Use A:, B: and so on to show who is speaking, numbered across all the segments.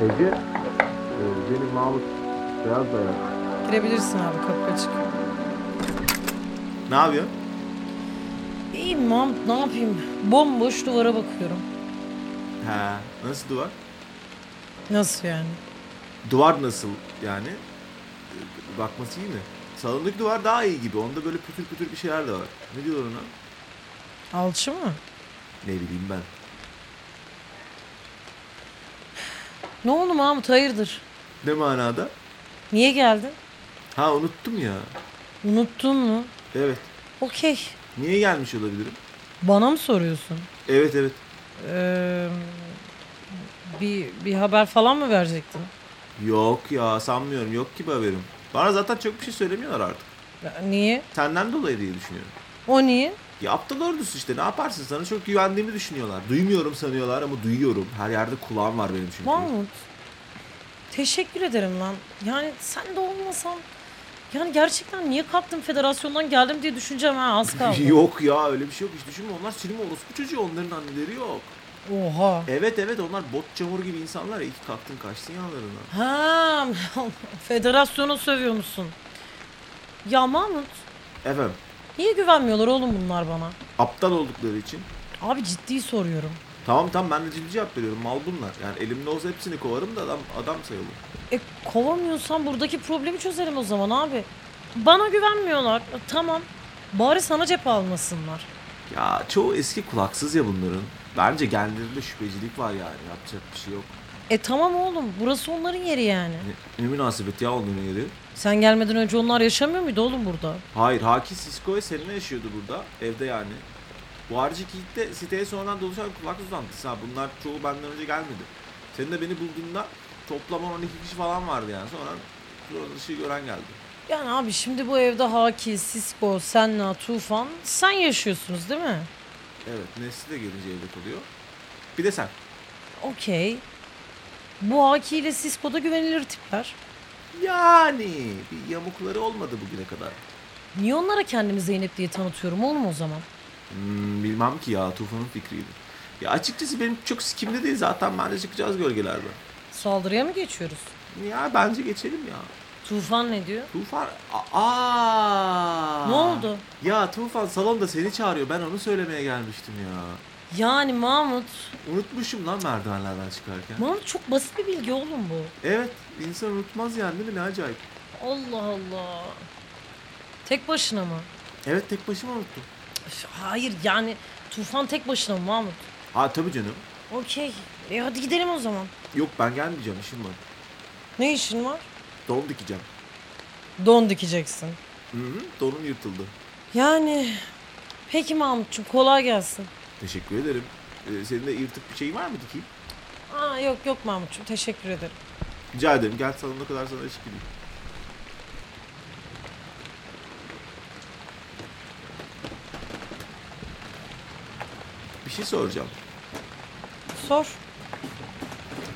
A: Ece, e, benim Mahmut Beyaz Dayak.
B: Girebilirsin abi kapı açık.
C: Ne yapıyor?
B: İyiyim Mahmut ne yapayım? Bomboş duvara bakıyorum.
C: Ha, nasıl duvar?
B: Nasıl yani?
C: Duvar nasıl yani? E, Bakması iyi mi? Salondaki duvar daha iyi gibi. Onda böyle pütür pütür bir şeyler de var. Ne diyorlar ona?
B: Alçı mı?
C: Ne bileyim ben.
B: Ne oldu Mahmut hayırdır?
C: Ne manada?
B: Niye geldin?
C: Ha unuttum ya.
B: Unuttun mu?
C: Evet.
B: Okey.
C: Niye gelmiş olabilirim?
B: Bana mı soruyorsun?
C: Evet evet.
B: Ee, bir, bir haber falan mı verecektin?
C: Yok ya sanmıyorum. Yok gibi haberim. Bana zaten çok bir şey söylemiyorlar artık.
B: Ya, Niye?
C: Senden dolayı diye düşünüyorum.
B: O niye?
C: Ya aptal ordusu işte ne yaparsın sana çok güvendiğimi düşünüyorlar. Duymuyorum sanıyorlar ama duyuyorum. Her yerde kulağım var benim çünkü.
B: Mahmut. Teşekkür ederim lan. Yani sen de olmasan... Yani gerçekten niye kalktın federasyondan geldim diye düşüneceğim ha az kaldı.
C: Yok ya öyle bir şey yok hiç düşünme. Onlar sinema orospu çocuğu onların anneleri yok.
B: Oha.
C: Evet evet onlar bot çamur gibi insanlar. İyi ki kalktın kaçtın yanlarına.
B: Ha, federasyonu sövüyor musun? Ya Mahmut,
C: Efendim
B: niye güvenmiyorlar oğlum bunlar bana?
C: aptal oldukları için.
B: Abi ciddi soruyorum.
C: Tamam tamam ben de ciddi cevap veriyorum. Mal bunlar. Yani elimde olsa hepsini kovarım da adam adam sayılır.
B: E kovamıyorsan buradaki problemi çözelim o zaman abi. Bana güvenmiyorlar. E, Tamam. Bari sana cephe almasınlar.
C: Ya çoğu eski kulaksız ya bunların. Bence kendilerinde şüphecilik var yani. Yapacak bir şey yok.
B: E tamam oğlum, burası onların yeri yani.
C: Ne, ne münasebet ya onların yeri.
B: Sen gelmeden önce onlar yaşamıyor muydu oğlum burada?
C: Hayır, Haki Sisko ve Selena yaşıyordu burada. Evde yani. Bu harici Keith de siteye sonradan doluşan kulak uzantısı ha. Bunlar çoğu benden önce gelmedi. Senin de beni bulduğunda toplam 12 kişi falan vardı yani. Sonra sonra ışığı gören geldi.
B: Yani abi şimdi bu evde Haki, Sisko, Senna, Tufan sen yaşıyorsunuz değil mi?
C: Evet, Nesli de gelince evde kalıyor. Bir de sen.
B: Okey. Bu Haki ile Sisko da güvenilir tipler.
C: Yani bir yamukları olmadı bugüne kadar.
B: Niye onlara kendimi Zeynep diye tanıtıyorum oğlum o zaman?
C: Hmm, bilmem ki ya Tufan'ın fikriydi. Ya açıkçası benim çok sikimde değil zaten. Bence çıkacağız gölgelerden.
B: Saldırıya mı geçiyoruz?
C: Ya bence geçelim ya.
B: Tufan ne diyor?
C: Tufan... Aa!
B: Ne oldu?
C: Ya Tufan salonda seni çağırıyor. Ben onu söylemeye gelmiştim ya.
B: Yani Mahmut.
C: Unutmuşum lan merdivenlerden çıkarken.
B: Mahmut çok basit bir bilgi oğlum bu.
C: evet, insan unutmaz yani değil mi? Ne acayip.
B: Allah Allah. Tek başına mı?
C: Evet, tek başıma unuttum.
B: Üf, Hayır yani Tufan tek başına mı Mahmut?
C: Ha tabii canım.
B: Okey. E hadi gidelim o zaman.
C: Yok ben gelmeyeceğim, işim var.
B: Ne işin var?
C: Don dikeceğim.
B: Don dikeceksin.
C: Hı hı, donum yırtıldı.
B: Yani peki Mahmut'cum kolay gelsin.
C: Teşekkür ederim. Ee, senin de yırtık bir şeyin var mı dikeyim?
B: Aa yok yok Mahmut'cum teşekkür ederim.
C: Rica ederim. Gel salona kadar sana eşlik edeyim. Bir şey soracağım.
B: Sor.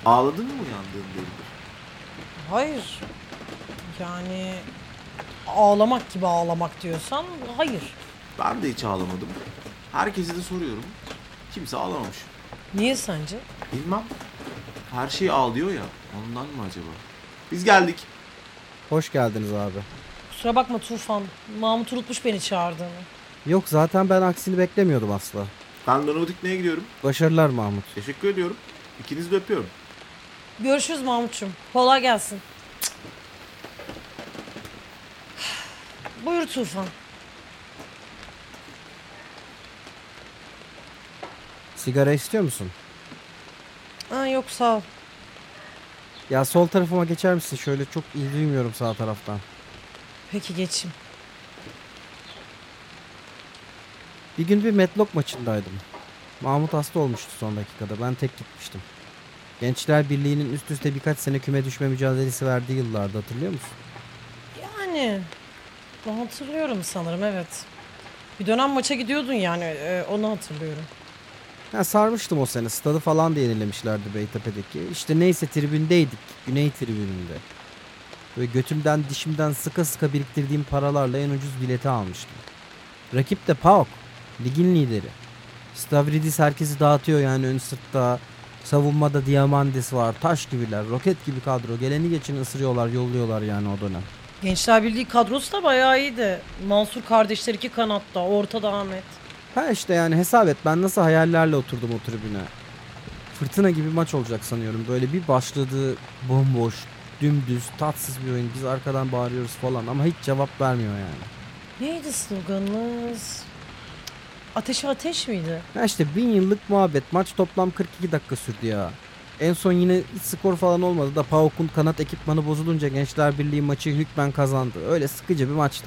C: Ağladın mı uyandığın beridir?
B: Hayır. Yani ağlamak gibi ağlamak diyorsan hayır.
C: Ben de hiç ağlamadım. Herkese de soruyorum. Kimse ağlamamış.
B: Niye sence?
C: Bilmem. Her şey ağlıyor ya. Ondan mı acaba? Biz geldik.
D: Hoş geldiniz abi.
B: Kusura bakma Tufan. Mahmut unutmuş beni çağırdığını.
D: Yok zaten ben aksini beklemiyordum asla.
C: Ben Donaudikne'ye gidiyorum.
D: Başarılar Mahmut.
C: Teşekkür ediyorum. İkinizi de öpüyorum.
B: Görüşürüz Mahmut'cum. Kolay gelsin. Buyur Tufan.
D: Sigara istiyor musun?
B: Ha, yok sağ ol.
D: Ya sol tarafıma geçer misin? Şöyle çok iyi duymuyorum sağ taraftan.
B: Peki geçeyim.
D: Bir gün bir Metlock maçındaydım. Mahmut hasta olmuştu son dakikada. Ben tek gitmiştim. Gençler Birliği'nin üst üste birkaç sene küme düşme mücadelesi verdiği yıllarda hatırlıyor musun?
B: Yani ben hatırlıyorum sanırım evet. Bir dönem maça gidiyordun yani e, onu hatırlıyorum.
D: Ya sarmıştım o sene. Stadı falan da yenilemişlerdi Beytepe'deki. İşte neyse tribündeydik. Güney tribününde. Ve götümden dişimden sıka sıka biriktirdiğim paralarla en ucuz bileti almıştım. Rakip de PAOK. Ligin lideri. Stavridis herkesi dağıtıyor yani ön sırtta. Savunmada Diamandis var. Taş gibiler. Roket gibi kadro. Geleni geçin ısırıyorlar yolluyorlar yani o dönem.
B: Gençler Birliği kadrosu da bayağı iyiydi. Mansur kardeşler iki kanatta, ortada Ahmet.
D: Ha işte yani hesap et ben nasıl hayallerle oturdum o tribüne. Fırtına gibi maç olacak sanıyorum. Böyle bir başladı bomboş, dümdüz, tatsız bir oyun. Biz arkadan bağırıyoruz falan ama hiç cevap vermiyor yani.
B: Neydi sloganınız? Ateşe ateş miydi?
D: Ha işte bin yıllık muhabbet. Maç toplam 42 dakika sürdü ya. En son yine hiç skor falan olmadı da PAOK'un kanat ekipmanı bozulunca Gençler Birliği maçı hükmen kazandı. Öyle sıkıcı bir maçtı.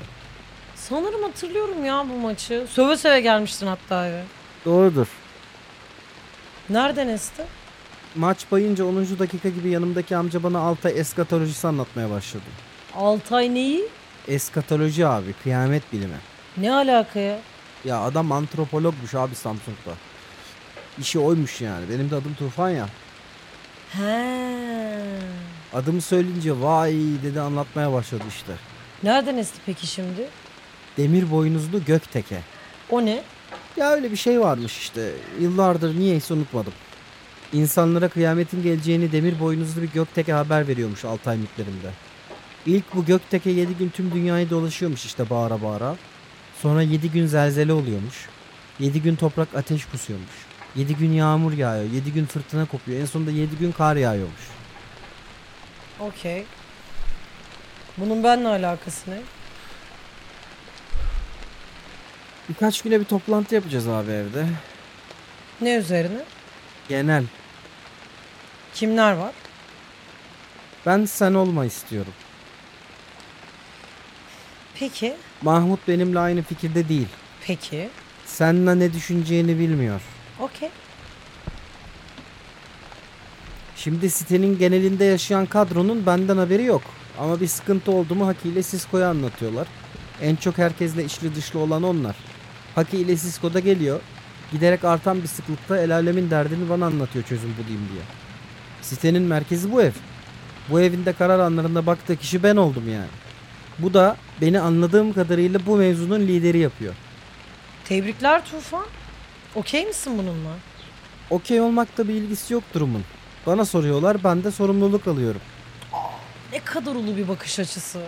B: Sanırım hatırlıyorum ya bu maçı. Söve söve gelmiştin hatta eve.
D: Doğrudur.
B: Nereden esti?
D: Maç bayınca 10. dakika gibi yanımdaki amca bana alta eskatolojisi anlatmaya başladı.
B: Altay neyi?
D: Eskatoloji abi kıyamet bilimi.
B: Ne alakaya?
D: Ya adam antropologmuş abi Samsung'da. İşi oymuş yani. Benim de adım Tufan ya.
B: He.
D: Adımı söyleyince vay dedi anlatmaya başladı işte.
B: Nereden esti peki şimdi?
D: Demir boynuzlu gökteke.
B: O ne?
D: Ya öyle bir şey varmış işte. Yıllardır niyeyse unutmadım. İnsanlara kıyametin geleceğini demir boynuzlu bir gökteke haber veriyormuş Altay mitlerinde. İlk bu gökteke 7 gün tüm dünyayı dolaşıyormuş işte bağıra bağıra. Sonra 7 gün zelzele oluyormuş. 7 gün toprak ateş kusuyormuş. 7 gün yağmur yağıyor. 7 gün fırtına kopuyor. En sonunda 7 gün kar yağıyormuş.
B: Okey. Bunun benimle alakası ne?
D: Birkaç güne bir toplantı yapacağız abi evde.
B: Ne üzerine?
D: Genel.
B: Kimler var?
D: Ben sen olma istiyorum.
B: Peki.
D: Mahmut benimle aynı fikirde değil.
B: Peki.
D: Senle ne düşüneceğini bilmiyor.
B: Okey.
D: Şimdi sitenin genelinde yaşayan kadronun benden haberi yok. Ama bir sıkıntı oldu mu Haki ile Sisko'ya anlatıyorlar. En çok herkesle içli dışlı olan onlar. Haki ile Sisko da geliyor. Giderek artan bir sıklıkta el alemin derdini bana anlatıyor çözüm bulayım diye. Sitenin merkezi bu ev. Bu evin de karar anlarında baktığı kişi ben oldum yani. Bu da beni anladığım kadarıyla bu mevzunun lideri yapıyor.
B: Tebrikler Tufan. Okey misin bununla?
D: Okey olmakta bir ilgisi yok durumun. Bana soruyorlar ben de sorumluluk alıyorum.
B: Ne kadar ulu bir bakış açısı.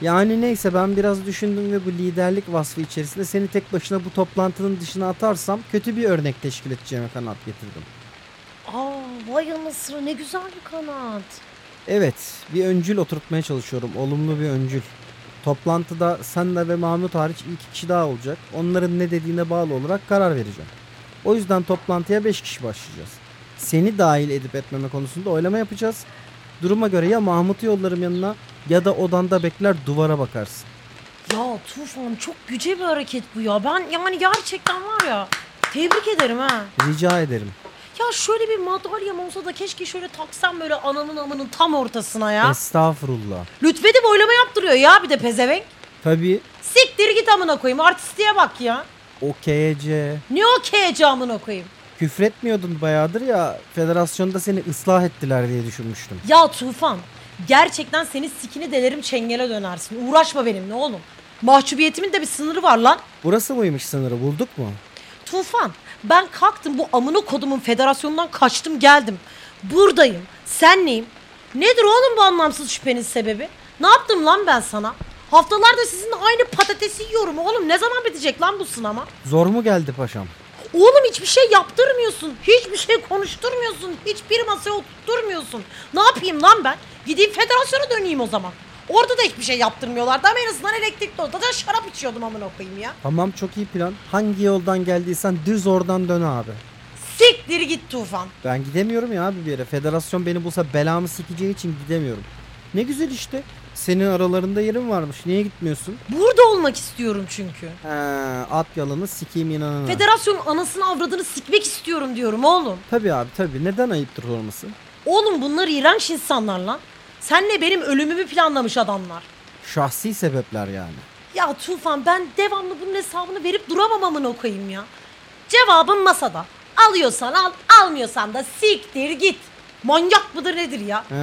D: Yani neyse ben biraz düşündüm ve bu liderlik vasfı içerisinde seni tek başına bu toplantının dışına atarsam kötü bir örnek teşkil edeceğime kanaat getirdim.
B: Aa vay anasını ne güzel bir kanat.
D: Evet bir öncül oturtmaya çalışıyorum olumlu bir öncül. Toplantıda senle ve Mahmut hariç ilk iki kişi daha olacak. Onların ne dediğine bağlı olarak karar vereceğim. O yüzden toplantıya 5 kişi başlayacağız. Seni dahil edip etmeme konusunda oylama yapacağız. Duruma göre ya Mahmut'u yollarım yanına ya da odanda bekler duvara bakarsın.
B: Ya Tufan çok güce bir hareket bu ya. Ben yani gerçekten var ya tebrik ederim ha.
D: Rica ederim.
B: Ya şöyle bir madalyam olsa da keşke şöyle taksam böyle ananın amının tam ortasına ya.
D: Estağfurullah.
B: Lütfedip oylama yaptırıyor ya bir de pezevenk.
D: Tabii
B: Siktir git amına koyayım artistliğe bak ya.
D: OKC.
B: Ne okeyci amına koyayım.
D: Küfretmiyordun bayağıdır ya federasyonda seni ıslah ettiler diye düşünmüştüm.
B: Ya Tufan gerçekten senin sikini delerim çengele dönersin. Uğraşma benimle oğlum. Mahcubiyetimin de bir sınırı var lan.
D: Burası mıymış sınırı bulduk mu?
B: Tufan ben kalktım bu amına kodumun federasyonundan kaçtım geldim. Buradayım. Sen neyim? Nedir oğlum bu anlamsız şüphenin sebebi? Ne yaptım lan ben sana? Haftalarda sizinle aynı patatesi yiyorum oğlum. Ne zaman bitecek lan bu sınama?
D: Zor mu geldi paşam?
B: Oğlum hiçbir şey yaptırmıyorsun. Hiçbir şey konuşturmuyorsun. Hiçbir masaya oturtmuyorsun. Ne yapayım lan ben? Gideyim federasyona döneyim o zaman. Orada da hiçbir şey yaptırmıyorlardı ama en azından elektrikli odada şarap içiyordum amına koyayım ya.
D: Tamam çok iyi plan. Hangi yoldan geldiysen düz oradan dön abi.
B: Siktir git Tufan.
D: Ben gidemiyorum ya abi bir yere. Federasyon beni bulsa belamı sikeceği için gidemiyorum. Ne güzel işte. Senin aralarında yerin varmış. Niye gitmiyorsun?
B: Burada olmak istiyorum çünkü.
D: He, at yalanı sikeyim inanana.
B: Federasyonun anasını avradını sikmek istiyorum diyorum oğlum.
D: tabii abi tabii. Neden ayıptır olması?
B: Oğlum bunlar iğrenç insanlar lan. Senle benim ölümümü planlamış adamlar.
D: Şahsi sebepler yani.
B: Ya Tufan ben devamlı bunun hesabını verip duramam amına koyayım ya. Cevabın masada. Alıyorsan al, almıyorsan da siktir git. Manyak mıdır nedir ya?
D: He.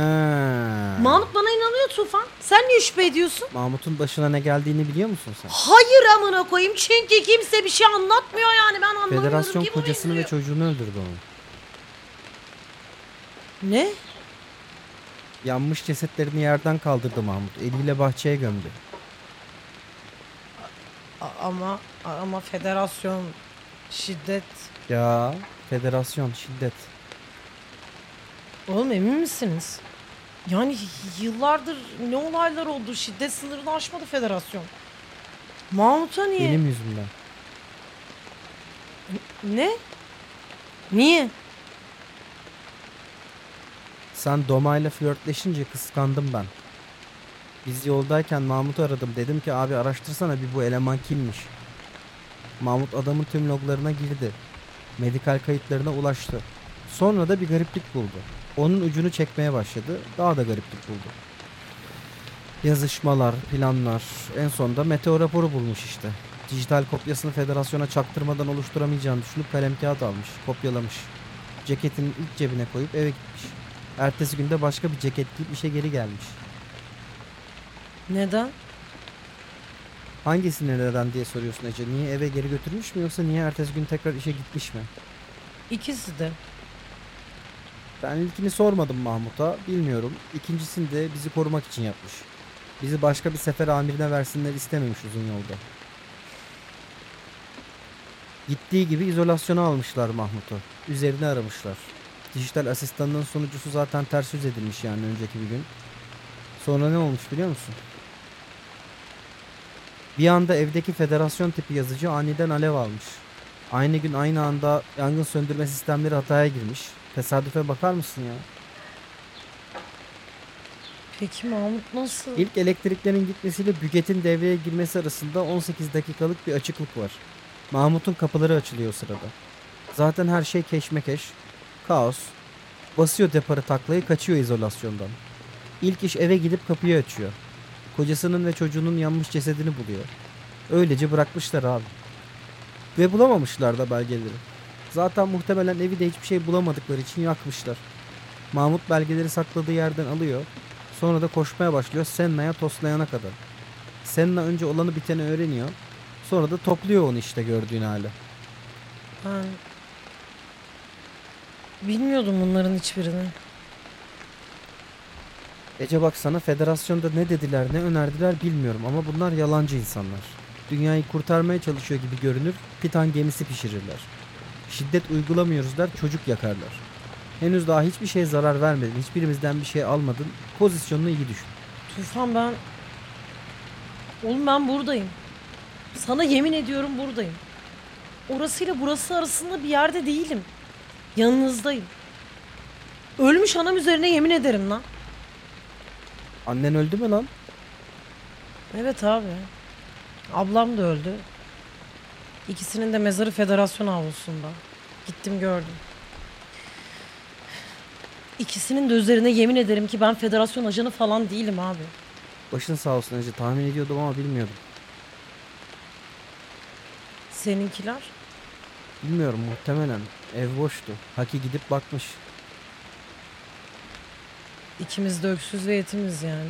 B: Mahmut bana inanıyor Tufan. Sen niye şüphe ediyorsun?
D: Mahmut'un başına ne geldiğini biliyor musun sen?
B: Hayır amına koyayım çünkü kimse bir şey anlatmıyor yani ben anlamıyorum
D: Federasyon
B: ki bu
D: kocasını ve
B: mevzuyu.
D: çocuğunu öldürdü onu.
B: Ne?
D: Yanmış cesetlerini yerden kaldırdı Mahmut. Eliyle bahçeye gömdü.
B: A- ama ama federasyon şiddet.
D: Ya federasyon şiddet.
B: Oğlum emin misiniz? Yani yıllardır ne olaylar oldu? Şiddet sınırını aşmadı federasyon. Mahmut'a niye?
D: Benim yüzümden.
B: Ne? Niye?
D: Sen Doma'yla flörtleşince kıskandım ben. Biz yoldayken Mahmut'u aradım. Dedim ki abi araştırsana bir bu eleman kimmiş. Mahmut adamın tüm loglarına girdi. Medikal kayıtlarına ulaştı. Sonra da bir gariplik buldu. Onun ucunu çekmeye başladı. Daha da gariplik buldu. Yazışmalar, planlar. En sonunda meteo raporu bulmuş işte. Dijital kopyasını federasyona çaktırmadan oluşturamayacağını düşünüp kalem kağıt almış, kopyalamış. Ceketinin ilk cebine koyup eve gitmiş. Ertesi günde başka bir ceket giyip işe geri gelmiş.
B: Neden?
D: Hangisini neden diye soruyorsun Ece. Niye eve geri götürmüş mü yoksa niye ertesi gün tekrar işe gitmiş mi?
B: İkisi de.
D: Ben ilkini sormadım Mahmut'a. Bilmiyorum. İkincisini de bizi korumak için yapmış. Bizi başka bir sefer amirine versinler istememiş uzun yolda. Gittiği gibi izolasyona almışlar Mahmut'u. Üzerine aramışlar. Dijital asistanının sonucusu zaten ters yüz edilmiş yani önceki bir gün. Sonra ne olmuş biliyor musun? Bir anda evdeki federasyon tipi yazıcı aniden alev almış. Aynı gün aynı anda yangın söndürme sistemleri hataya girmiş. Tesadüfe bakar mısın ya?
B: Peki Mahmut nasıl?
D: İlk elektriklerin gitmesiyle Büget'in devreye girmesi arasında 18 dakikalık bir açıklık var. Mahmut'un kapıları açılıyor o sırada. Zaten her şey keşmekeş, kaos. Basıyor deparı taklayı kaçıyor izolasyondan. İlk iş eve gidip kapıyı açıyor. Kocasının ve çocuğunun yanmış cesedini buluyor. Öylece bırakmışlar abi. Ve bulamamışlar da belgeleri. Zaten muhtemelen evi de hiçbir şey bulamadıkları için yakmışlar. Mahmut belgeleri sakladığı yerden alıyor. Sonra da koşmaya başlıyor Senna'ya toslayana kadar. Senna önce olanı biteni öğreniyor. Sonra da topluyor onu işte gördüğün hali.
B: Ben... Bilmiyordum bunların hiçbirini.
D: Ece bak sana federasyonda ne dediler ne önerdiler bilmiyorum ama bunlar yalancı insanlar. Dünyayı kurtarmaya çalışıyor gibi görünür, titan gemisi pişirirler. Şiddet uygulamıyoruz der, çocuk yakarlar. Henüz daha hiçbir şeye zarar vermedin, hiçbirimizden bir şey almadın, pozisyonunu iyi düşün.
B: Tufan ben... Oğlum ben buradayım. Sana yemin ediyorum buradayım. Orasıyla burası arasında bir yerde değilim. Yanınızdayım. Ölmüş anam üzerine yemin ederim lan.
D: Annen öldü mü lan?
B: Evet abi. Ablam da öldü. İkisinin de mezarı federasyon avlusunda. Gittim gördüm. İkisinin de üzerine yemin ederim ki ben federasyon ajanı falan değilim abi.
D: Başın sağ olsun Ece, tahmin ediyordum ama bilmiyordum.
B: Seninkiler?
D: Bilmiyorum muhtemelen. Ev boştu. Haki gidip bakmış.
B: İkimiz de öksüz ve yetimiz yani.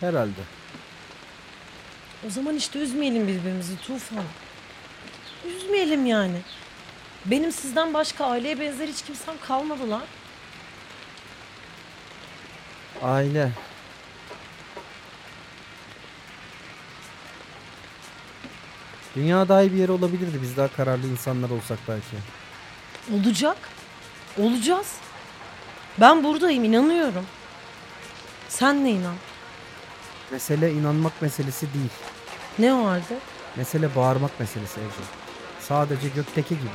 D: Herhalde.
B: O zaman işte üzmeyelim birbirimizi Tufan. Üzmeyelim yani. Benim sizden başka aileye benzer hiç kimsem kalmadı lan.
D: Aile. Dünya daha iyi bir yer olabilirdi biz daha kararlı insanlar olsak belki.
B: Olacak. Olacağız. Ben buradayım inanıyorum. Sen de inan.
D: Mesele inanmak meselesi değil.
B: Ne o halde?
D: Mesele bağırmak meselesi Ece. Sadece gökteki gibi.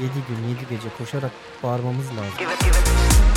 D: Yedi gün yedi gece koşarak bağırmamız lazım.
E: Give it, give it.